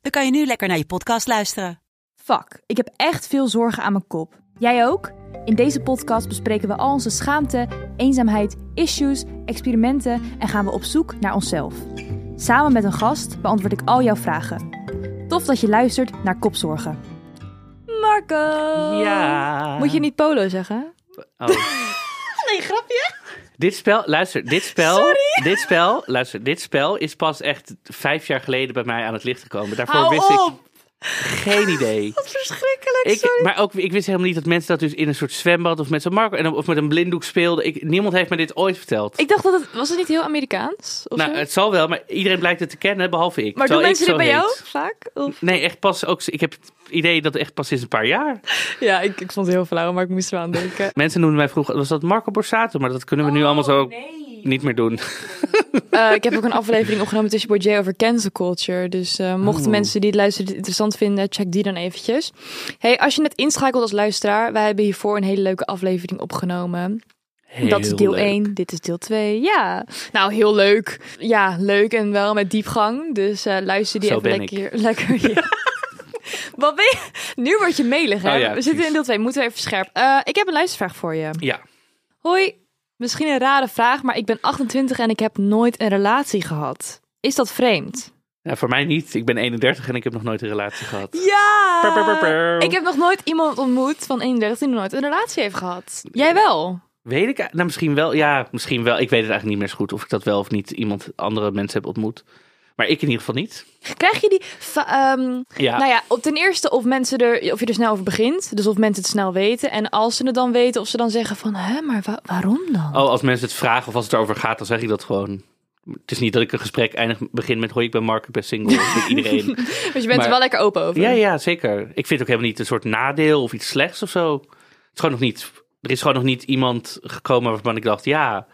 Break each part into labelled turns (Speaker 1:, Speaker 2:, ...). Speaker 1: dan kan je nu lekker naar je podcast luisteren.
Speaker 2: Fuck, ik heb echt veel zorgen aan mijn kop. Jij ook? In deze podcast bespreken we al onze schaamte, eenzaamheid, issues, experimenten en gaan we op zoek naar onszelf. Samen met een gast beantwoord ik al jouw vragen. Tof dat je luistert naar Kopzorgen. Marco!
Speaker 3: Ja.
Speaker 2: Moet je niet polo zeggen?
Speaker 3: Oh. nee, grapje. Dit spel, luister, dit spel, dit spel, luister, dit spel is pas echt vijf jaar geleden bij mij aan het licht gekomen. Daarvoor wist ik geen idee.
Speaker 2: Verschrikkelijk,
Speaker 3: Ik, maar ook, ik wist helemaal niet dat mensen dat dus in een soort zwembad of met zo'n Marco en of met een blinddoek speelden. Ik, niemand heeft me dit ooit verteld.
Speaker 4: Ik dacht dat het... Was het niet heel Amerikaans? Of
Speaker 3: nou,
Speaker 4: zo?
Speaker 3: het zal wel, maar iedereen blijkt het te kennen, behalve ik.
Speaker 4: maar doen
Speaker 3: terwijl ik
Speaker 4: mensen dit bij
Speaker 3: zo
Speaker 4: jou
Speaker 3: heet.
Speaker 4: vaak? Of?
Speaker 3: Nee, echt pas ook. Ik heb het idee dat echt pas sinds een paar jaar.
Speaker 4: Ja, ik, ik vond het heel flauw, maar ik moest er wel aan denken. Oh,
Speaker 3: Mensen noemden mij vroeger, was dat Marco Borsato? Maar dat kunnen we nu allemaal zo niet meer doen.
Speaker 4: Eh, ik heb ook een aflevering opgenomen tussen Bourdieu over cancel culture. Dus eh, mochten mensen die het luisteren dit interessant vinden, check die dan eventjes. Hey, als je net inschakelt als luisteraar, wij hebben hiervoor een hele leuke aflevering opgenomen. dat is
Speaker 3: Heel
Speaker 4: deel
Speaker 3: leuk.
Speaker 4: 1, dit is deel 2. Ja, nou heel leuk. Ja, leuk en wel met diepgang. Dus eh, luister die
Speaker 3: Zo
Speaker 4: even
Speaker 3: ben
Speaker 4: lekker. lekker ja. Wat ben je? Nu word je melig, hè?
Speaker 3: Oh ja,
Speaker 4: we
Speaker 3: precies.
Speaker 4: zitten in deel 2, moeten we even scherp. Eh, ik heb een luistervraag voor je.
Speaker 3: Ja.
Speaker 4: Hoi, misschien een rare vraag, maar ik ben 28 en ik heb nooit een relatie gehad. Is dat vreemd?
Speaker 3: Ja, voor mij niet. Ik ben 31 en ik heb nog nooit een relatie gehad.
Speaker 4: Ja!
Speaker 3: Purr, purr, purr, purr.
Speaker 4: Ik heb nog nooit iemand ontmoet van 31 die nog nooit een relatie heeft gehad. Jij wel?
Speaker 3: Weet ik? Nou, misschien wel. Ja, misschien wel. Ik weet het eigenlijk niet meer zo goed of ik dat wel of niet iemand andere mensen heb ontmoet. Maar ik in ieder geval niet.
Speaker 4: Krijg je die... fa- ehm,
Speaker 3: Ja.
Speaker 4: Nou ja, op- ten eerste of, mensen er, of je er snel over begint. Dus of mensen het snel weten. En als ze het dan weten, of ze dan zeggen van... Hè, maar wa- waarom dan?
Speaker 3: Oh, als mensen het vragen of als het erover gaat, dan zeg ik dat gewoon. Het is niet dat ik een gesprek eindig begin met hoi, ik ben Mark, ik ben single. met iedereen.
Speaker 4: Dus je bent
Speaker 3: maar-
Speaker 4: er wel lekker open over.
Speaker 3: Ja, ja, zeker. Ik vind het ook helemaal niet een soort nadeel of iets slechts of zo. Het is gewoon nog niet... Er is gewoon nog niet iemand gekomen waarvan ik dacht, ja,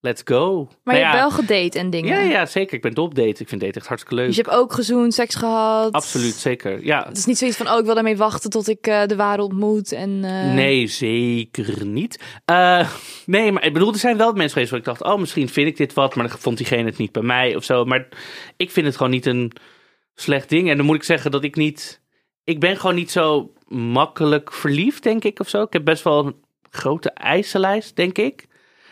Speaker 3: let's go.
Speaker 4: Maar je
Speaker 3: Nou ja,
Speaker 4: hebt wel gedate en dingen.
Speaker 3: Ja, ja, zeker. Ik ben dol op daten. Ik vind daten echt hartstikke leuk.
Speaker 4: Dus je hebt ook gezoend, seks gehad.
Speaker 3: Absoluut, zeker. Ja.
Speaker 4: Het is niet zoiets van, oh, ik wil daarmee wachten tot ik eh, de ware ontmoet. En, eh,
Speaker 3: Nee, zeker niet. Eh, nee, maar ik bedoel, er zijn wel mensen geweest waar ik dacht, oh, misschien vind ik dit wat, maar dan vond diegene het niet bij mij of zo. Maar ik vind het gewoon niet een slecht ding. En dan moet ik zeggen dat ik niet, ik ben gewoon niet zo makkelijk verliefd, denk ik, of zo. Ik heb best wel een grote eisenlijst, denk ik.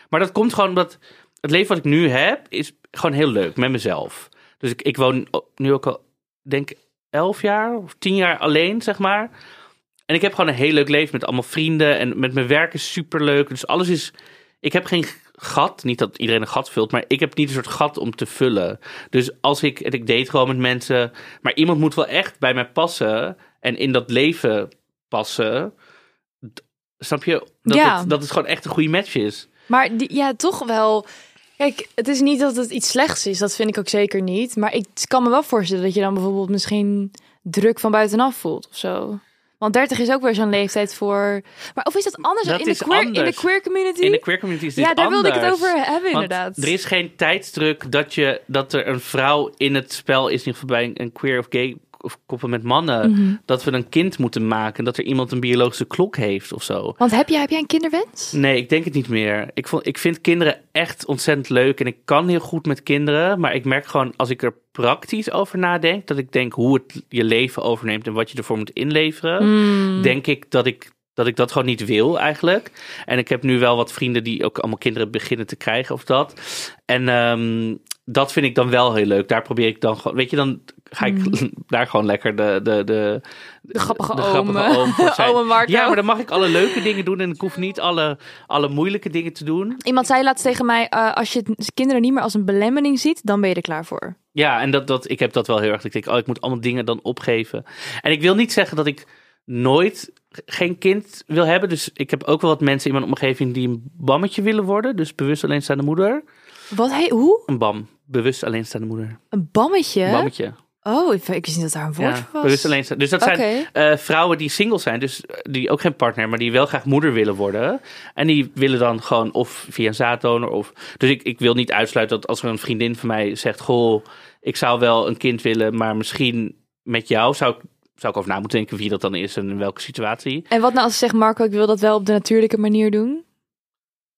Speaker 3: Maar dat komt gewoon omdat het leven wat ik nu heb, is gewoon heel leuk met mezelf. Dus ik, ik woon nu ook al, denk ik, elf jaar of tien jaar alleen, zeg maar. En ik heb gewoon een heel leuk leven met allemaal vrienden. En met mijn werk is superleuk. Dus alles is... Ik heb geen gat. Niet dat iedereen een gat vult. Maar ik heb niet een soort gat om te vullen. Dus als ik... En ik date gewoon met mensen. Maar iemand moet wel echt bij mij passen. En in dat leven passen. D- Snap je? Dat,
Speaker 4: Ja.
Speaker 3: het, dat het gewoon echt een goede match is.
Speaker 4: Maar die, ja, toch wel. Kijk, het is niet dat het iets slechts is. Dat vind ik ook zeker niet. Maar ik kan me wel voorstellen dat je dan bijvoorbeeld misschien druk van buitenaf voelt of zo. Want 30 is ook weer zo'n leeftijd voor. Maar of is dat anders
Speaker 3: Dat
Speaker 4: in, de
Speaker 3: is
Speaker 4: queer, in de
Speaker 3: anders.
Speaker 4: queer community?
Speaker 3: In de queer community is dit
Speaker 4: ja, daar wilde ik het
Speaker 3: anders.
Speaker 4: over hebben,
Speaker 3: Want
Speaker 4: inderdaad.
Speaker 3: Er is geen tijdsdruk dat, je, dat er een vrouw in het spel is, in ieder geval bij een- een queer of gay of koppel met mannen,
Speaker 4: Mhm.
Speaker 3: dat we een kind moeten maken, dat er iemand een biologische klok heeft of zo.
Speaker 4: Want heb jij, heb jij een kinderwens?
Speaker 3: Nee, ik denk het niet meer. Ik, vond, ik vind kinderen echt ontzettend leuk en ik kan heel goed met kinderen, maar ik merk gewoon als ik er praktisch over nadenk, dat ik denk hoe het je leven overneemt en wat je ervoor moet inleveren, denk ik dat ik dat ik dat gewoon niet wil eigenlijk. En ik heb nu wel wat vrienden die ook allemaal kinderen beginnen te krijgen of dat. En ehm, dat vind ik dan wel heel leuk. Daar probeer ik dan gewoon, weet je, dan ga ik daar gewoon lekker de, de, de,
Speaker 4: De grappige
Speaker 3: de
Speaker 4: oom,
Speaker 3: grappige oom voor
Speaker 4: eh,
Speaker 3: zijn.
Speaker 4: ome Marco.
Speaker 3: Ja, maar dan mag ik alle leuke dingen doen en ik hoef niet alle, alle moeilijke dingen te doen.
Speaker 4: Iemand zei laatst tegen mij: eh, als je het- kinderen niet meer als een belemmering ziet, dan ben je er klaar voor.
Speaker 3: Ja, en dat, dat, ik heb dat wel heel erg. Ik denk, oh, ik moet allemaal dingen dan opgeven. En ik wil niet zeggen dat ik nooit geen kind wil hebben. Dus ik heb ook wel wat mensen in mijn omgeving die een bammetje willen worden. Dus bewust alleenstaande moeder.
Speaker 4: Wat? Hey, hoe?
Speaker 3: Een bam. Bewust alleenstaande moeder.
Speaker 4: Een bammetje?
Speaker 3: Een bammetje.
Speaker 4: Oh, ik, ik wist niet dat daar een woord
Speaker 3: Ja,
Speaker 4: voor was.
Speaker 3: bewust alleen staan. Dus dat
Speaker 4: Oké.
Speaker 3: zijn eh, vrouwen die single zijn, dus eh, die ook geen partner, maar die wel graag moeder willen worden. En die willen dan gewoon of via een zaaddonor of. Dus ik, ik wil niet uitsluiten dat als er een vriendin van mij zegt: Goh, ik zou wel een kind willen, maar misschien met jou zou ik. Zou ik over na moeten denken wie dat dan is en in welke situatie.
Speaker 4: En wat nou als ze zegt, Marco, ik wil dat wel op de natuurlijke manier doen?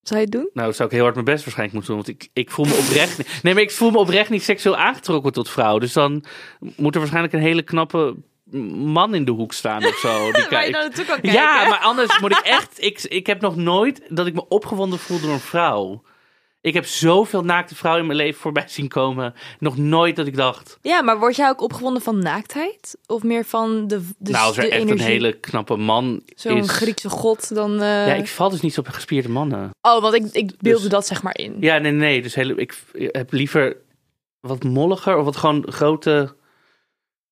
Speaker 4: Zou je het doen?
Speaker 3: Nou, zou ik heel hard mijn best waarschijnlijk moeten doen. Want ik, ik voel me oprecht. niet- Nee, maar ik voel me oprecht niet seksueel aangetrokken tot vrouwen. Dus dan moet er waarschijnlijk een hele knappe man in de hoek staan of zo. Die
Speaker 4: Waar je
Speaker 3: kijkt.
Speaker 4: dan naartoe kan kijken.
Speaker 3: Ja, maar anders moet ik echt. Ik, ik heb nog nooit dat ik me opgewonden voel door een vrouw. Ik heb zoveel naakte vrouwen in mijn leven voorbij zien komen. Nog nooit dat ik dacht.
Speaker 4: Ja, maar word jij ook opgewonden van naaktheid? Of meer van de, de,
Speaker 3: nou, als er
Speaker 4: Dus de
Speaker 3: echt
Speaker 4: energie?
Speaker 3: een hele knappe man
Speaker 4: Zo'n
Speaker 3: is.
Speaker 4: Griekse god, dan... eh,
Speaker 3: Ja, ik val dus niet op gespierde mannen.
Speaker 4: Oh, want ik, ik beelde
Speaker 3: Dus-
Speaker 4: dat zeg maar in.
Speaker 3: Ja, nee, nee. Dus hele, ik heb liever wat molliger of wat gewoon grote.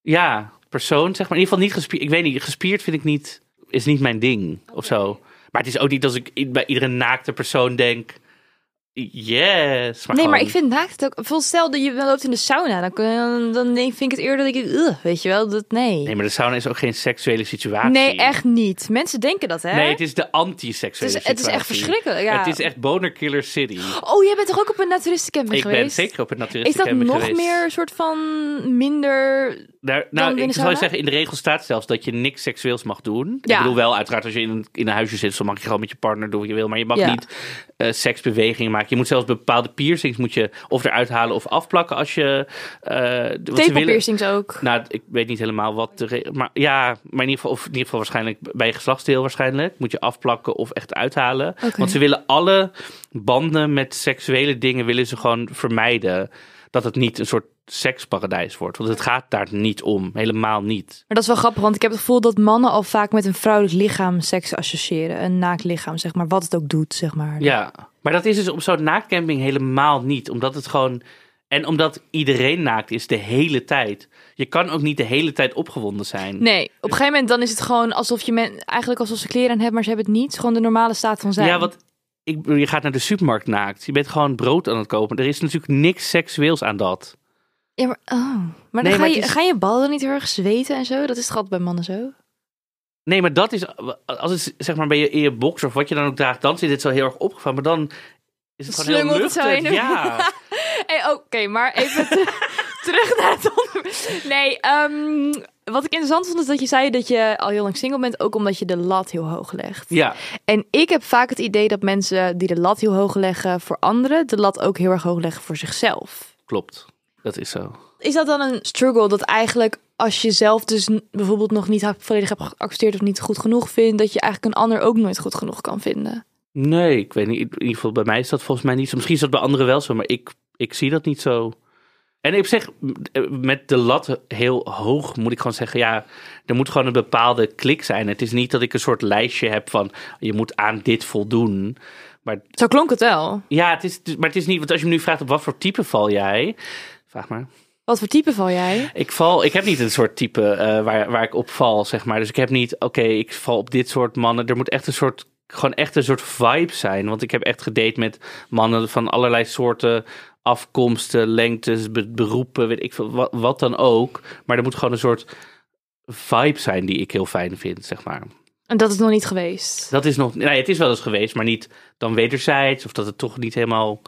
Speaker 3: Ja, persoon, zeg maar. In ieder geval niet gespierd. Ik weet niet, gespierd vind ik niet. Is niet mijn ding of zo. Maar het is ook niet als ik i- bij iedere naakte persoon denk. Yes. Maar
Speaker 4: nee, maar
Speaker 3: gewoon-
Speaker 4: ik vind naaktheid ook... bijvoorbeeld Stel dat je loopt in de sauna, dan, kun- dan denk, vind ik het eerder dat ik... Ugh, weet je wel, dat nee.
Speaker 3: Nee,
Speaker 4: Nee,
Speaker 3: maar de sauna is ook geen seksuele situatie.
Speaker 4: echt niet. Mensen denken dat, hè?
Speaker 3: Nee, het is de anti-seksuele
Speaker 4: Het is- het is
Speaker 3: situatie.
Speaker 4: echt verschrikkelijk, ja.
Speaker 3: Het is echt boner killer city.
Speaker 4: Oh, jij bent toch ook op een naturistencamping
Speaker 3: Ik ben
Speaker 4: geweest?
Speaker 3: zeker op het
Speaker 4: Is dat
Speaker 3: natuuristencamping
Speaker 4: nog
Speaker 3: geweest.
Speaker 4: meer een soort van minder
Speaker 3: Daar,
Speaker 4: Dan
Speaker 3: nou,
Speaker 4: binnen
Speaker 3: ik zou
Speaker 4: sauna?
Speaker 3: zeggen, in de regel staat zelfs dat je niks seksueels mag doen. Ik
Speaker 4: Ja.
Speaker 3: bedoel wel, uiteraard als je in een, in een huisje zit, dan mag je gewoon met je partner doen wat je wil. Maar je mag
Speaker 4: Ja.
Speaker 3: niet eh, seksbewegingen maken. Je moet zelfs bepaalde piercings moet je of eruit halen of afplakken als je... eh wat ze willen.
Speaker 4: tepelpiercings ook?
Speaker 3: Nou, ik weet niet helemaal wat de re- Maar ja, maar in ieder geval, of in ieder geval waarschijnlijk bij je geslachtsdeel waarschijnlijk. Moet je afplakken of echt uithalen. Want ze willen alle banden met seksuele dingen willen ze gewoon vermijden. Dat het niet een soort seksparadijs wordt. Want het gaat daar niet om. Helemaal niet.
Speaker 4: Maar dat is wel grappig, want ik heb het gevoel dat mannen al vaak met een vrouwelijk lichaam seks associëren. Een naakt lichaam, zeg maar. Wat het ook doet, zeg maar.
Speaker 3: Ja. Maar dat is dus op zo'n naaktcamping helemaal niet. Omdat het gewoon... En omdat iedereen naakt is de hele tijd. Je kan ook niet de hele tijd opgewonden zijn.
Speaker 4: Nee, op een gegeven moment dan is het gewoon alsof je men, eigenlijk alsof ze kleren aan hebben, maar ze hebben het niet. Het is Gewoon de normale staat van zijn.
Speaker 3: Ja, want ik, je gaat naar de supermarkt naakt. Je bent gewoon brood aan het kopen. Er is natuurlijk niks seksueels aan dat.
Speaker 4: Ja, maar, oh. maar dan
Speaker 3: Nee,
Speaker 4: ga,
Speaker 3: maar
Speaker 4: je,
Speaker 3: het is-
Speaker 4: ga je ballen niet heel erg zweten en zo? Dat is toch altijd bij mannen zo?
Speaker 3: Nee, maar dat is. Als het zeg maar bij je, in je box of wat je dan ook draagt, dan zit het zo heel erg opgevallen. Maar dan is het gewoon heel
Speaker 4: Slungelt het zo
Speaker 3: luchtig.
Speaker 4: in elkaar.
Speaker 3: Ja.
Speaker 4: Hey, Oké, maar even ter- terug naar het onderwerp. Nee, ehm, wat ik interessant vond is dat je zei dat je al heel lang single bent, ook omdat je de lat heel hoog legt.
Speaker 3: ja.
Speaker 4: En ik heb vaak het idee dat mensen die de lat heel hoog leggen voor anderen, de lat ook heel erg hoog leggen voor zichzelf.
Speaker 3: Klopt. Dat is zo.
Speaker 4: Is dat dan een struggle dat eigenlijk als je zelf dus n- bijvoorbeeld nog niet ha- volledig hebt geaccepteerd of niet goed genoeg vindt, dat je eigenlijk een ander ook nooit goed genoeg kan vinden?
Speaker 3: Nee, ik weet niet. In ieder geval bij mij is dat volgens mij niet zo. Misschien is dat bij anderen wel zo, maar ik, ik zie dat niet zo. En ik zeg, met de lat heel hoog moet ik gewoon zeggen, ja, er moet gewoon een bepaalde klik zijn. Het is niet dat ik een soort lijstje heb van, je moet aan dit voldoen. Maar
Speaker 4: Zo klonk het wel.
Speaker 3: ja, het is, maar het is niet, want als je me nu vraagt op wat voor type val jij, vraag maar.
Speaker 4: Wat voor type val jij?
Speaker 3: Ik val, ik heb niet een soort type eh, waar, waar ik op val, zeg maar. Dus ik heb niet, oké, ik val op dit soort mannen. Er moet echt een soort, gewoon echt een soort vibe zijn. Want ik heb echt gedate met mannen van allerlei soorten afkomsten, lengtes, be- beroepen, weet ik veel, wat, wat dan ook. Maar er moet gewoon een soort vibe zijn die ik heel fijn vind, zeg maar.
Speaker 4: En dat is nog niet geweest.
Speaker 3: Dat is nog, nee, het is wel eens geweest, maar niet dan wederzijds. Of dat het toch niet helemaal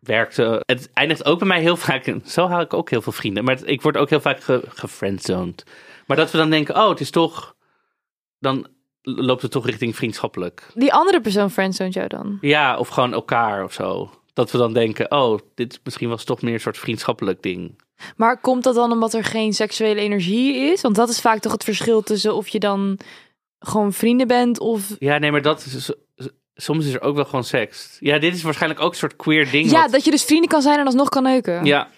Speaker 3: werkte. Het eindigt ook bij mij heel vaak, in- zo haal ik ook heel veel vrienden. Maar het- ik word ook heel vaak ge, gefriendzoned. Maar dat we dan denken, oh, het is toch, dan loopt het toch richting vriendschappelijk.
Speaker 4: Die andere persoon friendzoned jou dan?
Speaker 3: Ja, of gewoon elkaar of zo. Dat we dan denken, oh, dit is misschien was toch meer een soort vriendschappelijk ding.
Speaker 4: Maar komt dat dan omdat er geen seksuele energie is? Want dat is vaak toch het verschil tussen of je dan gewoon vrienden bent of
Speaker 3: Ja, nee, maar dat is, soms is er ook wel gewoon seks. Ja, dit is waarschijnlijk ook een soort queer ding.
Speaker 4: Ja,
Speaker 3: wat-
Speaker 4: dat je dus vrienden kan zijn en alsnog kan neuken.
Speaker 3: ja,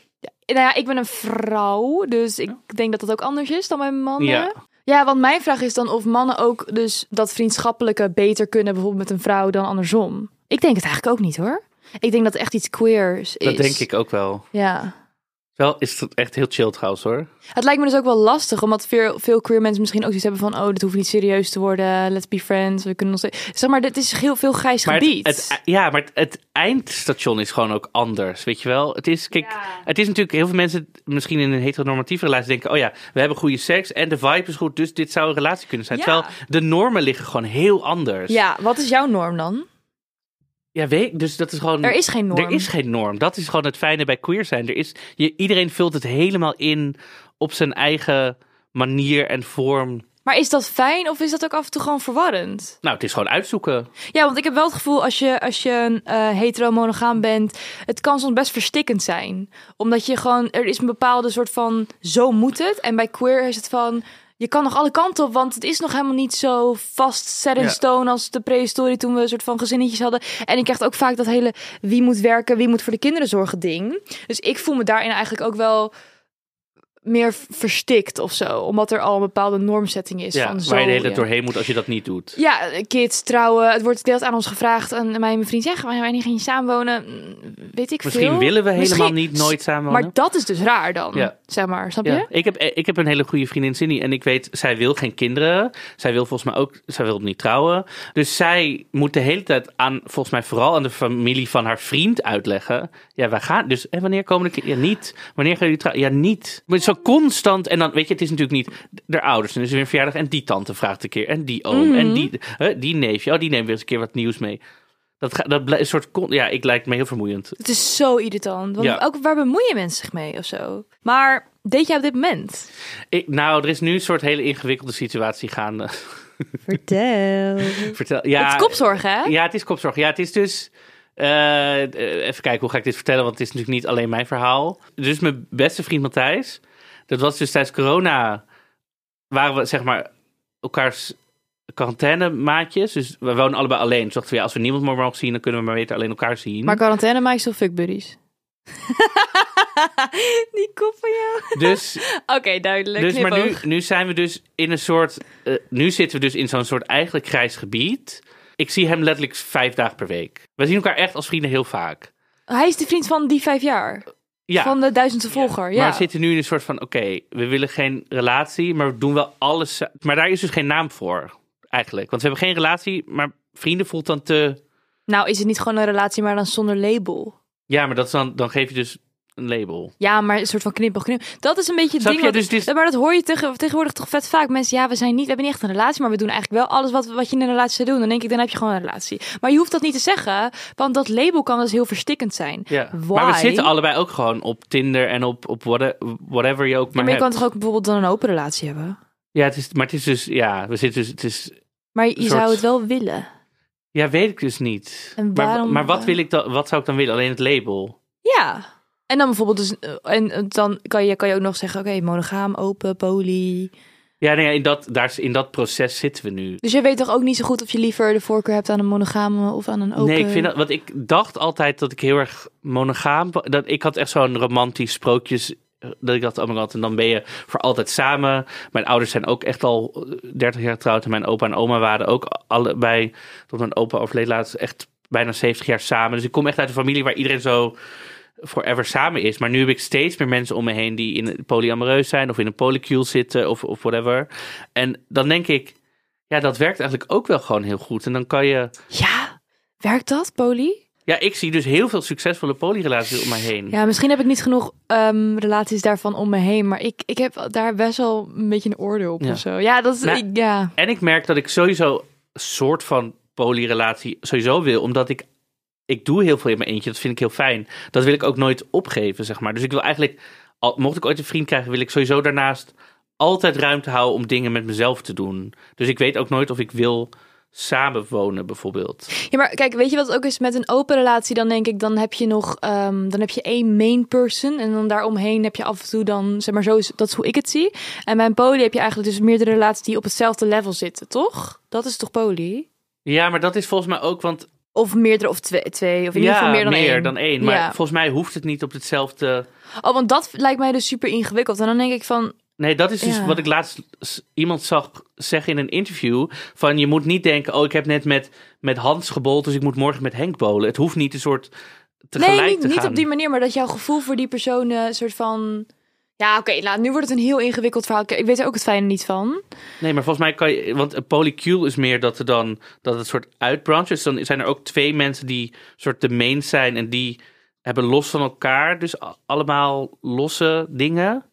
Speaker 4: Nou ja, ik ben een vrouw, dus ik denk dat dat ook anders is dan bij mannen.
Speaker 3: Ja.
Speaker 4: Ja, want mijn vraag is dan of mannen ook dus dat vriendschappelijke beter kunnen bijvoorbeeld met een vrouw dan andersom. Ik denk het eigenlijk ook niet hoor. Ik denk dat het echt iets queers is.
Speaker 3: dat denk ik ook wel.
Speaker 4: Ja.
Speaker 3: Wel is dat echt heel chill trouwens hoor.
Speaker 4: Het lijkt me dus ook wel lastig, omdat veel, veel queer mensen misschien ook zoiets hebben van... oh, dit hoeft niet serieus te worden, let's be friends, we kunnen ons... Zeg maar, dit is heel veel grijs
Speaker 3: Maar het,
Speaker 4: gebied.
Speaker 3: het- ja, maar het, het eindstation is gewoon ook anders, weet je wel. Het is, kijk, het is natuurlijk, heel veel mensen misschien in een heteronormatieve relatie denken... oh ja, we hebben goede seks en de vibe is goed, dus dit zou een relatie kunnen zijn.
Speaker 4: Ja.
Speaker 3: Terwijl de normen liggen gewoon heel anders.
Speaker 4: Ja, wat is jouw norm dan?
Speaker 3: Ja, weet, dus dat is gewoon...
Speaker 4: Er is geen norm.
Speaker 3: Er is geen norm. Dat is gewoon het fijne bij queer zijn. Er is, je, iedereen vult het helemaal in op zijn eigen manier en vorm.
Speaker 4: Maar is dat fijn of is dat ook af en toe gewoon verwarrend?
Speaker 3: Nou, het is gewoon uitzoeken.
Speaker 4: Ja, want ik heb wel het gevoel als je, als je een eh, hetero-monogaam bent, het kan soms best verstikkend zijn. Omdat je gewoon, er is een bepaalde soort van, zo moet het. En bij queer is het van, je kan nog alle kanten op, want het is nog helemaal niet zo vast set in
Speaker 3: Ja.
Speaker 4: stone als de prehistorie toen we een soort van gezinnetjes hadden. En ik krijg ook vaak dat hele wie moet werken, wie moet voor de kinderen zorgen ding. Dus ik voel me daarin eigenlijk ook wel meer verstikt of zo. Omdat er al een bepaalde normsetting is.
Speaker 3: Ja,
Speaker 4: van zo,
Speaker 3: waar je de hele tijd
Speaker 4: ja.
Speaker 3: doorheen moet als je dat niet doet.
Speaker 4: Ja, kids, trouwen. Het wordt deels aan ons gevraagd. En mij en mijn vriend zeggen, wij niet gaan je samenwonen. Mm, Weet ik
Speaker 3: Misschien
Speaker 4: veel.
Speaker 3: willen we helemaal
Speaker 4: Misschien-
Speaker 3: niet nooit samenwonen.
Speaker 4: Maar dat is dus raar dan,
Speaker 3: Ja.
Speaker 4: zeg maar. Snap
Speaker 3: Ja,
Speaker 4: je?
Speaker 3: ik heb, ik heb een hele goede vriendin, Cindy. En ik weet, zij wil geen kinderen. Zij wil volgens mij ook, zij wil niet trouwen. Dus zij moet de hele tijd aan, volgens mij vooral aan de familie van haar vriend uitleggen. Ja, wij gaan, dus en wanneer komen de kinderen? Ja, niet. Wanneer gaan jullie trouwen? Ja, niet. Maar zo constant. En dan, weet je, het is natuurlijk niet de ouders. En dus weer een verjaardag. En die tante vraagt een keer. En die oom.
Speaker 4: Mhm.
Speaker 3: En die, hè, die neefje. Oh, die neemt weer eens een keer wat nieuws mee. Dat, ga- dat blijft een soort, con- ja, ik lijkt me heel vermoeiend.
Speaker 4: Het is zo irritant. Want
Speaker 3: Ja.
Speaker 4: ook waar bemoeien mensen zich mee of zo? Maar deed jij op dit moment?
Speaker 3: Ik, nou, er is nu een soort hele ingewikkelde situatie gaande.
Speaker 2: Vertel.
Speaker 3: Vertel, ja,
Speaker 4: het is kopzorg, hè?
Speaker 3: Ja, het is kopzorg. Ja, het is dus. eh, eh, even kijken, hoe ga ik dit vertellen? Want het is natuurlijk niet alleen mijn verhaal. Dus mijn beste vriend Matthijs, dat was dus tijdens corona, waren we zeg maar elkaars quarantaine-maatjes. Dus we wonen allebei alleen. Dus dachten we, ja, als we niemand meer mogen zien, dan kunnen we maar beter alleen elkaar zien.
Speaker 4: Maar quarantaine maak je still fuck buddies. Die kop van jou.
Speaker 3: Dus
Speaker 4: Oké, duidelijk.
Speaker 3: Dus, maar nu,
Speaker 4: Knipoog.
Speaker 3: nu zijn we dus in een soort. eh, nu zitten we dus in zo'n soort eigenlijk grijs gebied. Ik zie hem letterlijk vijf dagen per week. We zien elkaar echt als vrienden heel vaak.
Speaker 4: Hij is de vriend van die vijf jaar.
Speaker 3: Ja.
Speaker 4: Van de duizendste volger. Ja.
Speaker 3: Maar we zitten nu in een soort van: oké, we willen geen relatie, maar we doen wel alles. za- Maar daar is dus geen naam voor, eigenlijk. Want we hebben geen relatie, maar vrienden voelt dan te.
Speaker 4: Nou, is het niet gewoon een relatie, maar dan zonder label?
Speaker 3: Ja, maar dat is dan, dan geef je dus een label.
Speaker 4: Ja, maar een soort van knippig knip. Dat is een beetje het
Speaker 3: Snap
Speaker 4: ding.
Speaker 3: je?
Speaker 4: wat-
Speaker 3: Dus dit is-
Speaker 4: Maar dat hoor je tegen- tegenwoordig toch vet vaak. Mensen, ja, we zijn niet, we hebben niet echt een relatie, maar we doen eigenlijk wel alles wat, wat je in een relatie zou doen. Dan denk ik, dan heb je gewoon een relatie. Maar je hoeft dat niet te zeggen, want dat label kan dus heel verstikkend zijn.
Speaker 3: Ja.
Speaker 4: Why?
Speaker 3: Maar we zitten allebei ook gewoon op Tinder en op, op whate- whatever je ook
Speaker 4: Ja,
Speaker 3: maar,
Speaker 4: maar je kan
Speaker 3: hebt.
Speaker 4: toch ook bijvoorbeeld dan een open relatie hebben.
Speaker 3: Ja, het is, maar het is dus. Ja, we zitten dus. Het is
Speaker 4: Maar je
Speaker 3: Een soort-
Speaker 4: zou het wel willen.
Speaker 3: Ja, weet ik dus niet.
Speaker 4: En
Speaker 3: maar,
Speaker 4: waarom- eh?
Speaker 3: maar wat, wil ik dan, wat zou ik dan willen? Alleen het label.
Speaker 4: Ja. En dan bijvoorbeeld dus, eh, en eh, dan kan je, kan je ook nog zeggen, oké, monogaam, open, poly.
Speaker 3: Ja, nee, in, dat, daar, is- in dat proces zitten we nu.
Speaker 4: Dus je weet toch ook niet zo goed of je liever de voorkeur hebt aan een monogame of aan een open.
Speaker 3: Nee, ik vind dat, want ik dacht altijd dat ik heel erg monogaam. Dat, ik had echt zo'n romantisch sprookjes. eh, Dat ik dacht, oh mijn god, en dan ben je voor altijd samen. Mijn ouders zijn ook echt al eh, 30 jaar getrouwd. En mijn opa en oma waren ook allebei, tot mijn opa overleed laatst, echt bijna 70 jaar samen. Dus ik kom echt uit een familie waar iedereen zo forever samen is. Maar nu heb ik steeds meer mensen om me heen die in polyamoreus zijn of in een polycule zitten of, of whatever. En dan denk ik, ja, dat werkt eigenlijk ook wel gewoon heel goed. En dan kan je.
Speaker 4: Ja, werkt dat, poly?
Speaker 3: Ja, ik zie dus heel veel succesvolle polyrelaties om mij heen.
Speaker 4: Ja, misschien heb ik niet genoeg ehm, relaties daarvan om me heen. Maar ik, ik heb daar best wel een beetje een oordeel op
Speaker 3: Ja.
Speaker 4: of zo. Ja, dat is...
Speaker 3: Nou,
Speaker 4: ik- ja.
Speaker 3: En ik merk dat ik sowieso een soort van polyrelatie sowieso wil, omdat ik ik doe heel veel in mijn eentje. Dat vind ik heel fijn. Dat wil ik ook nooit opgeven, zeg maar. Dus ik wil eigenlijk, al, mocht ik ooit een vriend krijgen, wil ik sowieso daarnaast altijd ruimte houden om dingen met mezelf te doen. Dus ik weet ook nooit of ik wil samenwonen, bijvoorbeeld.
Speaker 4: ja, maar kijk, weet je wat het ook is met een open relatie? Dan denk ik, dan heb je nog... ehm, dan heb je één main person. En dan daaromheen heb je af en toe dan... Zeg maar, zo is, dat is hoe ik het zie. En bij een poly heb je eigenlijk dus meerdere relaties die op hetzelfde level zitten, toch? Dat is toch poly?
Speaker 3: Ja, maar dat is volgens mij ook, want
Speaker 4: Of meerdere, of twee, twee of in ieder
Speaker 3: ja,
Speaker 4: geval meer dan één.
Speaker 3: Maar
Speaker 4: Ja.
Speaker 3: volgens mij hoeft het niet op hetzelfde.
Speaker 4: Oh, want dat lijkt mij dus super ingewikkeld. En dan denk ik van,
Speaker 3: Nee, dat is dus
Speaker 4: Ja.
Speaker 3: wat ik laatst s- iemand zag zeggen in een interview. Van je moet niet denken, oh, ik heb net met, met Hans gebold, dus ik moet morgen met Henk bolen. Het hoeft niet een soort tegelijk
Speaker 4: nee, niet,
Speaker 3: te
Speaker 4: niet
Speaker 3: gaan.
Speaker 4: op die manier, maar dat jouw gevoel voor die persoon eh, een soort van... Ja, oké, nou, nu wordt het een heel ingewikkeld verhaal. Ik- Ik weet er ook het fijne niet van.
Speaker 3: Nee, maar volgens mij kan je. Want een polycule is meer dat er dan. dat het soort uitbrancht. Dus dan zijn er ook twee mensen die. soort de main zijn. en die hebben los van elkaar. Dus a- allemaal losse dingen.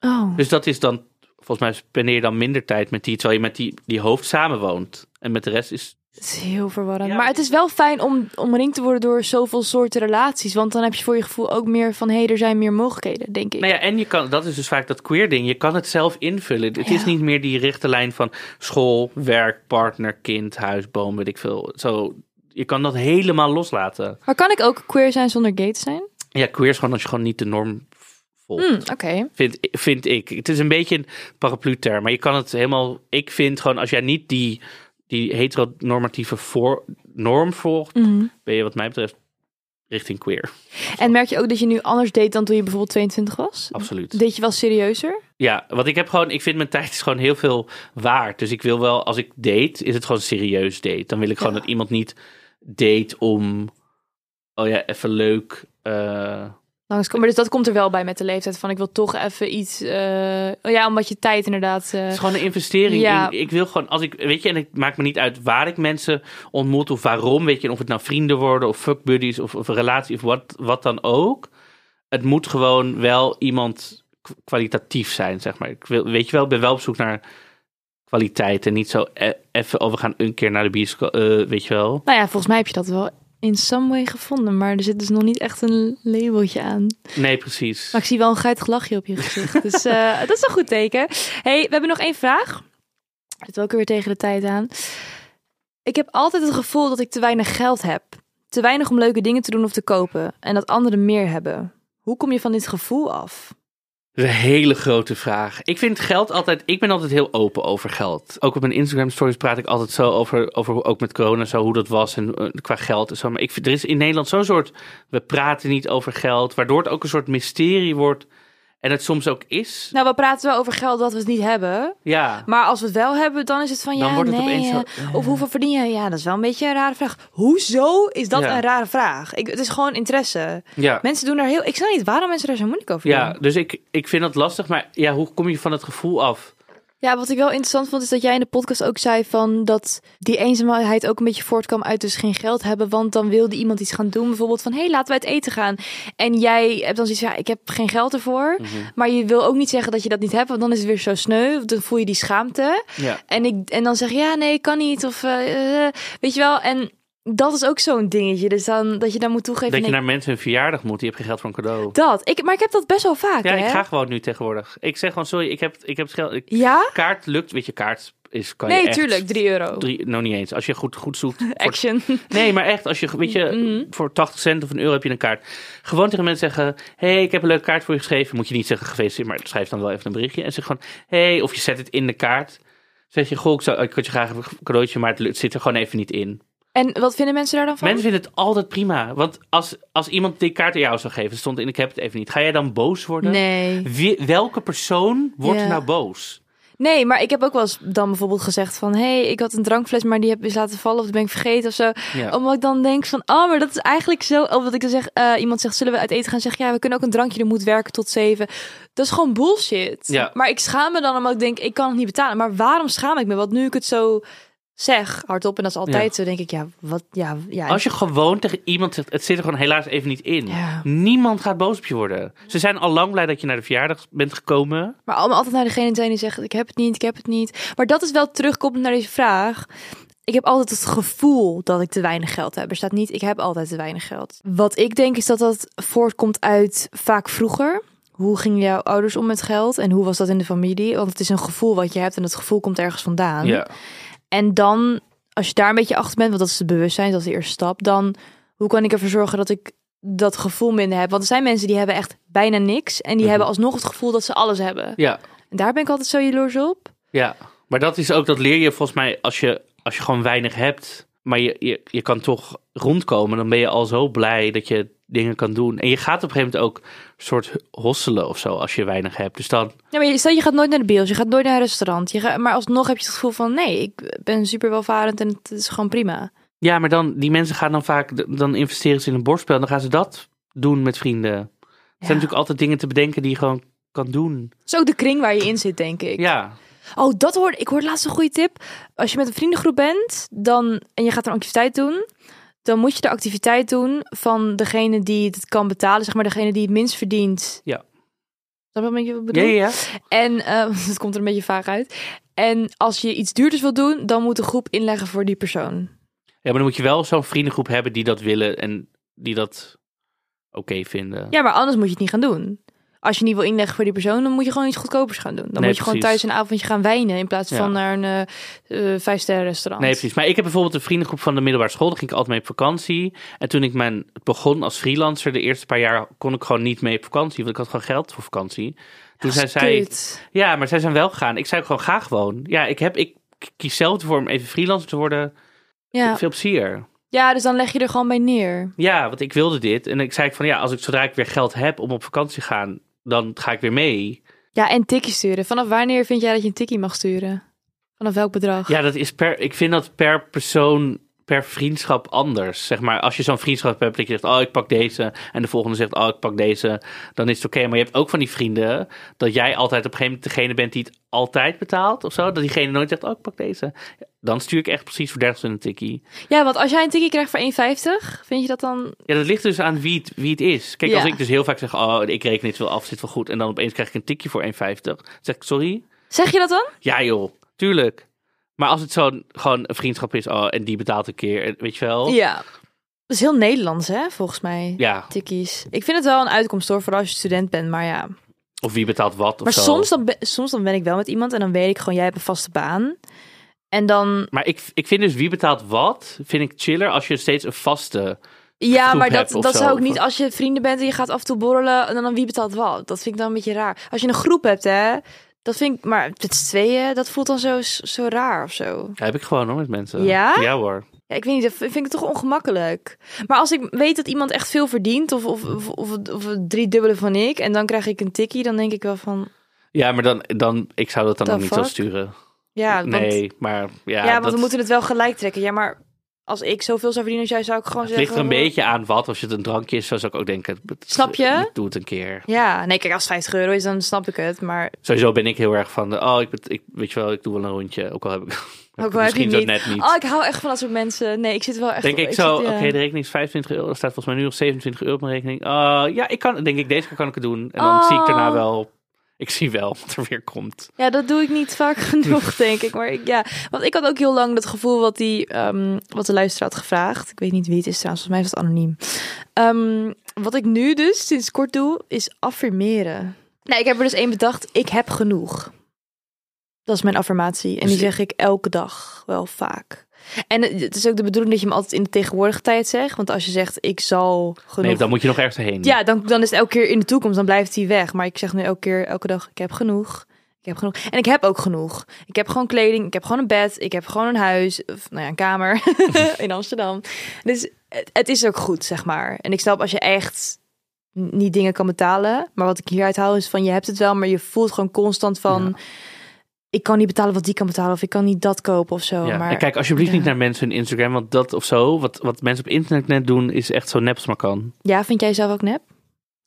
Speaker 4: Oh.
Speaker 3: Dus dat is dan. Volgens mij spendeer je dan minder tijd met die. terwijl je met die, die hoofd samenwoont. En met de rest is.
Speaker 4: Het is heel verwarrend.
Speaker 3: Ja,
Speaker 4: maar het is wel fijn om omringd te worden door zoveel soorten relaties. Want dan heb je voor je gevoel ook meer van... hé, hey, er zijn meer mogelijkheden, denk ik.
Speaker 3: Nou ja, en je kan. dat is dus vaak dat queer ding. Je kan het zelf invullen. Het is
Speaker 4: Ja.
Speaker 3: niet meer die rechte lijn van. school, werk, partner, kind, huis, boom, weet ik veel. Zo. Je kan dat helemaal loslaten.
Speaker 4: Maar kan ik ook queer zijn zonder gay te zijn?
Speaker 3: Ja, queer is gewoon als je gewoon niet de norm volgt.
Speaker 4: Hm, Oké.
Speaker 3: Vind, vind ik. Het is een beetje een paraplu-term, maar je kan het helemaal. Ik vind gewoon als jij niet die, die heteronormatieve voor, norm volgt,
Speaker 4: Mhm.
Speaker 3: ben je, wat mij betreft, richting queer.
Speaker 4: En merk je ook dat je nu anders deed dan toen je bijvoorbeeld 22 was?
Speaker 3: Absoluut.
Speaker 4: Deed je wel serieuzer?
Speaker 3: Ja, want ik heb gewoon. Ik vind mijn tijd is gewoon heel veel waard. Dus ik wil wel, als ik date, is het gewoon serieus date. Dan wil ik gewoon dat iemand niet date om. Oh ja, even leuk. eh,
Speaker 4: Langs, maar dus dat komt er wel bij met de leeftijd van ik wil toch even iets... eh, oh ja, omdat je tijd inderdaad... eh,
Speaker 3: Het is gewoon een investering.
Speaker 4: Ja.
Speaker 3: in- ik wil gewoon, als ik, weet je, en het maakt me niet uit waar ik mensen ontmoet of waarom, weet je, en of het nou vrienden worden of fuckbuddies of, of een relatie of wat, wat dan ook. Het moet gewoon wel iemand k- kwalitatief zijn, zeg maar. Ik wil, weet je wel, ik ben wel op zoek naar kwaliteit en niet zo e- even, oh, we gaan een keer naar de bioscoop, eh, weet je wel.
Speaker 4: Nou ja, volgens mij heb je dat wel in some way gevonden. Maar er zit dus nog niet echt een labeltje aan.
Speaker 3: Nee, precies.
Speaker 4: Maar ik zie wel een geitig lachje op je gezicht. Dus eh, dat is een goed teken. hey, we hebben nog één vraag. Ik zit ook weer tegen de tijd aan. Ik heb altijd het gevoel dat ik te weinig geld heb. Te weinig om leuke dingen te doen of te kopen. En dat anderen meer hebben. Hoe kom je van dit gevoel af?
Speaker 3: Dat is een hele grote vraag. Ik vind geld altijd. Ik ben altijd heel open over geld. Ook op mijn Instagram stories praat ik altijd zo over, over hoe- ook met corona, zo hoe dat was en eh, qua geld en zo. Maar ik vind, er is in Nederland zo'n soort. We praten niet over geld, waardoor het ook een soort mysterie wordt. En het soms ook is.
Speaker 4: Nou, we praten wel over geld dat we het niet hebben.
Speaker 3: Ja.
Speaker 4: Maar als we het wel hebben, dan is het van
Speaker 3: Dan
Speaker 4: ja,
Speaker 3: wordt het
Speaker 4: nee,
Speaker 3: opeens zo,
Speaker 4: eh, Of hoeveel verdien je? Ja, dat is wel een beetje een rare vraag. Hoezo is dat
Speaker 3: Ja.
Speaker 4: een rare vraag? Ik, het is gewoon interesse.
Speaker 3: Ja.
Speaker 4: Mensen doen daar heel... Ik snap niet waarom mensen daar zo moeilijk over
Speaker 3: Ja,
Speaker 4: doen.
Speaker 3: dus ik, ik vind dat lastig. Maar ja, hoe kom je van het gevoel af?
Speaker 4: Ja, wat ik wel interessant vond, is dat jij in de podcast ook zei van dat die eenzaamheid ook een beetje voortkwam uit dus geen geld hebben, want dan wilde iemand iets gaan doen, bijvoorbeeld van hé, hey, laten we uit eten gaan. En jij hebt dan zoiets van, ja, ik heb geen geld ervoor,
Speaker 3: Mhm.
Speaker 4: maar je wil ook niet zeggen dat je dat niet hebt, want dan is het weer zo sneu, want dan voel je die schaamte.
Speaker 3: Ja.
Speaker 4: En, ik, en dan zeg je, ja, nee, kan niet, of eh, eh, weet je wel, en dat is ook zo'n dingetje, dus dan dat je dan moet toegeven.
Speaker 3: Dat je
Speaker 4: nee,
Speaker 3: naar mensen hun verjaardag moet, die heb geen geld voor een cadeau.
Speaker 4: dat, ik, maar ik heb dat best wel vaak,
Speaker 3: Ja,
Speaker 4: hè?
Speaker 3: ik ga gewoon nu tegenwoordig. Ik zeg gewoon, sorry, ik heb, ik heb het geld. ik-
Speaker 4: Ja?
Speaker 3: kaart lukt, weet je, kaart is kan je
Speaker 4: Nee,
Speaker 3: echt
Speaker 4: tuurlijk, 3 euro.
Speaker 3: Drie, nou niet eens. Als je goed, goed zoekt. voor-
Speaker 4: Action. Mhm.
Speaker 3: nee, maar echt. Als je, weet je, voor 80 cent of een euro heb je een kaart. Gewoon tegen mensen zeggen: hey, ik heb een leuke kaart voor je geschreven. Moet je niet zeggen gefeliciteerd, maar schrijf dan wel even een berichtje. En zeg gewoon: hey, of je zet het in de kaart. Zeg je: Goh, ik, zou, ik had je graag een cadeautje, maar het lukt- zit er gewoon even niet in.
Speaker 4: En wat vinden mensen daar dan van?
Speaker 3: Mensen vinden het altijd prima. Want als, als iemand die kaart aan jou zou geven, stond in: Ik heb het even niet. Ga jij dan boos worden?
Speaker 4: Nee.
Speaker 3: Wie- welke persoon wordt
Speaker 4: Ja.
Speaker 3: nou boos?
Speaker 4: Nee, maar ik heb ook wel eens dan bijvoorbeeld gezegd van... hé, hey, ik had een drankfles, maar die heb ik laten vallen of die ben ik vergeten of zo.
Speaker 3: Ja.
Speaker 4: Omdat ik dan denk van, oh, maar dat is eigenlijk zo... Of dat ik dan zeg, eh, iemand zegt, zullen we uit eten gaan? Zeg, ja, we kunnen ook een drankje, er moet werken tot zeven. Dat is gewoon bullshit.
Speaker 3: Ja.
Speaker 4: Maar ik schaam me dan omdat ik denk, ik kan het niet betalen. Maar waarom schaam ik me? Want nu ik het zo zeg, hardop, en dat is altijd zo, denk ik, ja, wat, ja, ja.
Speaker 3: Als je gewoon tegen iemand zegt, het zit er gewoon helaas even niet in.
Speaker 4: Ja.
Speaker 3: Niemand gaat boos op je worden. Ze zijn al lang blij dat je naar de verjaardag bent gekomen.
Speaker 4: Maar allemaal altijd naar degene zijn die zegt: Ik heb het niet, ik heb het niet. Maar dat is wel terugkomend naar deze vraag. Ik heb altijd het gevoel dat ik te weinig geld heb. Er staat niet, ik heb altijd te weinig geld. Wat ik denk is dat dat voortkomt uit vaak vroeger. Hoe gingen jouw ouders om met geld en hoe was dat in de familie? Want het is een gevoel wat je hebt en dat gevoel komt ergens vandaan. En dan, als je daar een beetje achter bent, want dat is het bewustzijn, dat is de eerste stap, dan hoe kan ik ervoor zorgen dat ik dat gevoel minder heb? Want er zijn mensen die hebben echt bijna niks en die hebben alsnog het gevoel dat ze alles hebben.
Speaker 3: Ja.
Speaker 4: En daar ben ik altijd zo jaloers op.
Speaker 3: ja. Maar dat is ook, dat leer je volgens mij als je, als je gewoon weinig hebt. Maar je, je, je kan toch rondkomen. Dan ben je al zo blij dat je dingen kan doen. En je gaat op een gegeven moment ook een soort hosselen of zo als je weinig hebt. Dus dan,
Speaker 4: Ja, maar je, stel je gaat nooit naar de bios, je gaat nooit naar een restaurant. Je gaat, maar alsnog heb je het gevoel van nee, ik ben super welvarend en het is gewoon prima.
Speaker 3: Ja, maar dan, die mensen gaan dan vaak, dan investeren ze in een borstspel. Dan gaan ze dat doen met vrienden. Er
Speaker 4: Ja.
Speaker 3: zijn natuurlijk altijd dingen te bedenken die je gewoon kan doen.
Speaker 4: Het is ook de kring waar je in zit, denk ik.
Speaker 3: Ja.
Speaker 4: Oh, dat hoorde ik. hoorde laatst een goede tip. Als je met een vriendengroep bent dan, en je gaat een activiteit doen, dan moet je de activiteit doen van degene die het kan betalen, zeg maar degene die het minst verdient.
Speaker 3: Ja.
Speaker 4: Snap je wat ik bedoel?
Speaker 3: Ja, ja, ja.
Speaker 4: En eh, het komt er een beetje vaag uit. En als je iets duurders wil doen, dan moet de groep inleggen voor die persoon.
Speaker 3: Ja, maar dan moet je wel zo'n vriendengroep hebben die dat willen en die dat oké vinden.
Speaker 4: Ja, maar anders moet je het niet gaan doen. Als je niet wil inleggen voor die persoon, dan moet je gewoon iets goedkopers gaan doen. Dan
Speaker 3: Nee,
Speaker 4: moet je gewoon
Speaker 3: precies.
Speaker 4: thuis een avondje gaan wijnen in plaats
Speaker 3: Ja.
Speaker 4: van naar een eh eh, vijfsterren restaurant.
Speaker 3: Nee, precies. Maar ik heb bijvoorbeeld een vriendengroep van de middelbare school. Daar ging ik altijd mee op vakantie. En toen ik mijn, het begon als freelancer, de eerste paar jaar kon ik gewoon niet mee op vakantie. Want ik had gewoon geld voor vakantie. Toen zei zij,
Speaker 4: Kut.
Speaker 3: ja, maar zij zijn wel gegaan. Ik zei gewoon, ga gewoon. Ja, ik, heb, ik kies zelf ervoor om even freelancer te worden.
Speaker 4: Ja.
Speaker 3: Veel plezier.
Speaker 4: ja, dus dan leg je er gewoon bij neer.
Speaker 3: Ja, want ik wilde dit. En ik zei van, ja, als ik zodra ik weer geld heb om op vakantie te gaan, dan ga ik weer mee.
Speaker 4: Ja, en tikkie sturen. Vanaf wanneer vind jij dat je een tikkie mag sturen? Vanaf welk bedrag?
Speaker 3: Ja, dat is per. Ik vind dat per persoon, per vriendschap anders. Zeg maar, als je zo'n vriendschap hebt dat je zegt, oh, ik pak deze. En de volgende zegt, oh, ik pak deze. Dan is het oké. Maar je hebt ook van die vrienden dat jij altijd op een gegeven moment degene bent die het altijd betaalt of zo. Dat diegene nooit zegt, oh, ik pak deze. Dan stuur ik echt precies voor 30 een tikkie.
Speaker 4: Ja, want als jij een tikkie krijgt voor 1,50, vind je dat dan...
Speaker 3: Ja, dat ligt dus aan wie het, wie het is. Kijk,
Speaker 4: Ja.
Speaker 3: als ik dus heel vaak zeg, oh, ik reken dit wel af, zit wel goed. En dan opeens krijg ik een tikje voor 1,50. Dan Zeg ik, sorry?
Speaker 4: Zeg je dat dan?
Speaker 3: Ja joh, tuurlijk. Maar als het zo'n gewoon een vriendschap is, oh, en die betaalt een keer, en weet je wel.
Speaker 4: Ja. Dat is heel Nederlands, hè, volgens mij.
Speaker 3: Oh. Ja,
Speaker 4: Tikkies. Ik vind het wel een uitkomst, hoor, vooral als je student bent. Maar ja,
Speaker 3: of wie betaalt wat of
Speaker 4: Maar
Speaker 3: zo.
Speaker 4: soms dan, be- soms dan ben ik wel met iemand en dan weet ik gewoon, jij hebt een vaste baan. En dan,
Speaker 3: Maar ik, ik vind dus wie betaalt wat, vind ik chiller als je steeds een vaste...
Speaker 4: ja,
Speaker 3: Groep
Speaker 4: maar dat,
Speaker 3: hebt of
Speaker 4: dat
Speaker 3: zo,
Speaker 4: zou ik
Speaker 3: of-
Speaker 4: niet, als je vrienden bent en je gaat af en toe borrelen, en dan, dan wie betaalt wat? Dat vind ik dan een beetje raar. Als je een groep hebt, hè, dat vind ik, maar met z'n tweeën, dat voelt dan zo, zo raar of zo.
Speaker 3: Ja, heb ik gewoon hoor, met mensen.
Speaker 4: Ja?
Speaker 3: Ja hoor.
Speaker 4: Ja, ik weet niet, dat vind ik toch ongemakkelijk. Maar als ik weet dat iemand echt veel verdient, of, of, of, of, of het driedubbele van ik, en dan krijg ik een tikkie, dan denk ik wel van,
Speaker 3: Ja, maar dan, dan ik zou dat dan
Speaker 4: The
Speaker 3: ook niet zo
Speaker 4: fuck?
Speaker 3: sturen.
Speaker 4: ja, want,
Speaker 3: nee, maar ja,
Speaker 4: ja, want
Speaker 3: dat
Speaker 4: we moeten het wel gelijk trekken. Ja, maar als ik zoveel zou verdienen als jij, zou ik gewoon
Speaker 3: het
Speaker 4: zeggen...
Speaker 3: ligt er een beetje aan wat. Als het een drankje is, zo zou ik ook denken... het-
Speaker 4: Snap je?
Speaker 3: Ik doe het een keer.
Speaker 4: Ja, nee, kijk, als het 50 euro is, dan snap ik het. Maar
Speaker 3: Sowieso ben ik heel erg van, de, oh, ik, bet- ik, weet je wel, ik doe wel een rondje. Ook al heb ik, heb ik
Speaker 4: ook
Speaker 3: het
Speaker 4: wel heb je
Speaker 3: misschien zo
Speaker 4: niet.
Speaker 3: net niet.
Speaker 4: Oh, ik hou echt van dat soort mensen. Nee, ik zit wel echt...
Speaker 3: denk ik,
Speaker 4: ik
Speaker 3: zo,
Speaker 4: zit, eh,
Speaker 3: oké,
Speaker 4: ja.
Speaker 3: de rekening is 25 euro. Er staat volgens mij nu nog 27 euro op mijn rekening. Ah, ja, ik kan, denk ik, deze keer kan ik het doen. En dan
Speaker 4: Oh.
Speaker 3: zie ik daarna wel, ik zie wel wat er weer komt.
Speaker 4: Ja, dat doe ik niet vaak genoeg, denk ik. Maar ik, ja, want ik had ook heel lang dat gevoel wat, die, ehm, wat de luisteraar had gevraagd. Ik weet niet wie het is trouwens, volgens mij is het anoniem. Ehm, wat ik nu dus sinds kort doe, is affirmeren. Nou, ik heb er dus één bedacht. Ik heb genoeg. Dat is mijn affirmatie. En die
Speaker 3: Dus-
Speaker 4: zeg ik elke dag, wel vaak. En het is ook de bedoeling dat je hem altijd in de tegenwoordige tijd zegt. Want als je zegt, ik zal genoeg
Speaker 3: Nee, dan moet je nog ergens heen.
Speaker 4: ja, dan, dan is het elke keer in de toekomst, dan blijft hij weg. Maar ik zeg nu elke keer, elke dag, ik heb genoeg. Ik heb genoeg. En ik heb ook genoeg. Ik heb gewoon kleding, ik heb gewoon een bed, ik heb gewoon een huis, of nou ja, een kamer in Amsterdam. Dus het, het is ook goed, zeg maar. En ik snap als je echt n- niet dingen kan betalen. Maar wat ik hieruit haal is van, je hebt het wel, maar je voelt gewoon constant van... Ik kan niet betalen wat die kan betalen, of ik kan niet dat kopen of zo.
Speaker 3: Ja,
Speaker 4: maar
Speaker 3: En kijk alsjeblieft
Speaker 4: Ja.
Speaker 3: niet naar mensen hun Instagram, want dat of zo, wat, wat mensen op internet net doen, is echt zo nep als maar kan.
Speaker 4: ja, vind jij zelf ook nep?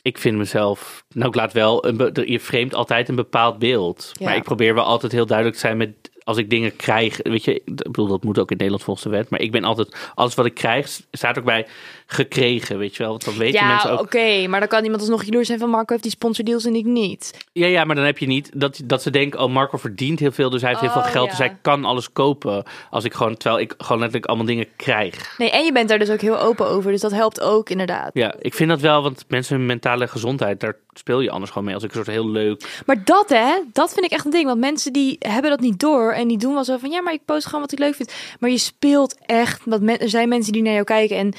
Speaker 3: Ik vind mezelf, nou ik laat wel, een be- je framet altijd een bepaald beeld.
Speaker 4: Ja.
Speaker 3: Maar ik probeer wel altijd heel duidelijk te zijn met, als ik dingen krijg, weet je, ik bedoel dat moet ook in Nederland volgens de wet, maar ik ben altijd, alles wat ik krijg, staat ook bij gekregen, weet je wel. Want dan weten mensen
Speaker 4: Ja,
Speaker 3: ook,
Speaker 4: oké, maar dan kan iemand alsnog jaloers zijn van Marco heeft die sponsordeals en ik niet.
Speaker 3: Ja, ja, maar dan heb je niet dat, dat ze denken: oh, Marco verdient heel veel, dus hij heeft heel
Speaker 4: Oh,
Speaker 3: veel geld,
Speaker 4: ja.
Speaker 3: dus hij kan alles kopen. Als ik gewoon, terwijl ik gewoon letterlijk allemaal dingen krijg.
Speaker 4: Nee, en je bent daar dus ook heel open over. Dus dat helpt ook inderdaad.
Speaker 3: Ja, ik vind dat wel, want mensen hun mentale gezondheid, daar speel je anders gewoon mee. Als ik een soort heel leuk.
Speaker 4: Maar dat hè, dat vind ik echt een ding. Want mensen die hebben dat niet door. En die doen wel zo van, ja, maar ik post gewoon wat ik leuk vind. Maar je speelt echt. Want men- er zijn mensen die naar jou kijken. En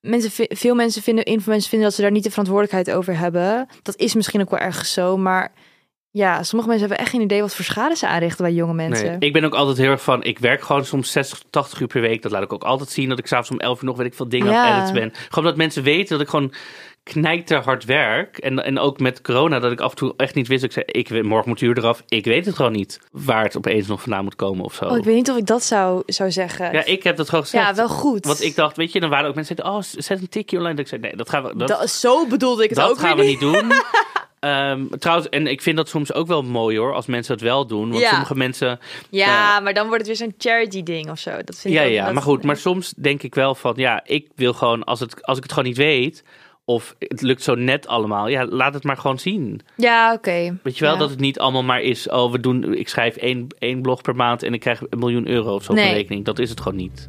Speaker 4: mensen, vi- veel mensen vinden, influencers vinden dat ze daar niet de verantwoordelijkheid over hebben. Dat is misschien ook wel ergens zo. Maar ja, sommige mensen hebben echt geen idee wat voor schade ze aanrichten bij jonge mensen.
Speaker 3: Ik ben ook altijd heel erg van: ik werk gewoon soms 60, 80 uur per week. Dat laat ik ook altijd zien. Dat ik s'avonds om 11 uur nog weet ik veel dingen aan
Speaker 4: Ja.
Speaker 3: het editen ben. Gewoon dat mensen weten dat ik gewoon knijter hard werk. En, en ook met corona, dat ik af en toe echt niet wist. Ik zei, ik, weet- morgen moet de uur eraf. Ik weet het gewoon niet waar het opeens nog vandaan moet komen of zo.
Speaker 4: Oh, ik weet niet of ik dat zou, zou zeggen.
Speaker 3: Ja, ik heb dat gewoon gezegd.
Speaker 4: Ja, wel goed.
Speaker 3: Want ik dacht, weet je, dan waren ook mensen die zeiden, oh, zet een tikje online. Dat ik zei, nee, dat gaan we, dat,
Speaker 4: Dat- zo bedoelde ik het
Speaker 3: dat
Speaker 4: ook weer
Speaker 3: gaan we niet doen. Ehm, trouwens, en ik vind dat soms ook wel mooi hoor, als mensen dat wel doen. Want
Speaker 4: Ja.
Speaker 3: sommige mensen
Speaker 4: Ja, maar dan wordt het weer zo'n charity ding of zo. Dat vind
Speaker 3: Ja,
Speaker 4: ik ook-
Speaker 3: ja,
Speaker 4: dat-
Speaker 3: maar goed. Maar soms denk ik wel van, ja, ik wil gewoon, als, het, als ik het gewoon niet weet, of het lukt zo net allemaal, ja, laat het maar gewoon zien.
Speaker 4: Ja, oké.
Speaker 3: Weet je wel,
Speaker 4: Ja.
Speaker 3: dat het niet allemaal maar is, oh, we doen, ik schrijf één, één blog per maand en ik krijg een miljoen euro of zo op
Speaker 4: Nee.
Speaker 3: mijn rekening. Dat is het gewoon niet.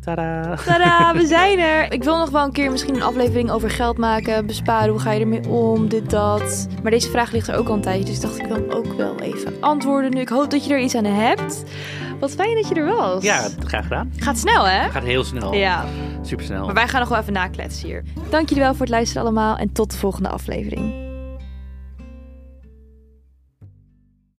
Speaker 3: Tada!
Speaker 4: Tadaa, we zijn er. Ik wil nog wel een keer misschien een aflevering over geld maken, besparen, hoe ga je ermee om, dit, dat. Maar deze vraag ligt er ook al een tijdje, dus dacht ik dan ook wel even antwoorden nu. Ik hoop dat je er iets aan hebt. Wat fijn dat je er was.
Speaker 3: Ja, graag gedaan.
Speaker 4: Gaat snel, hè?
Speaker 3: Gaat heel snel.
Speaker 4: Ja,
Speaker 3: Supersnel.
Speaker 4: maar wij gaan nog wel even nakletsen hier. Dank jullie wel voor het luisteren allemaal en tot de volgende aflevering.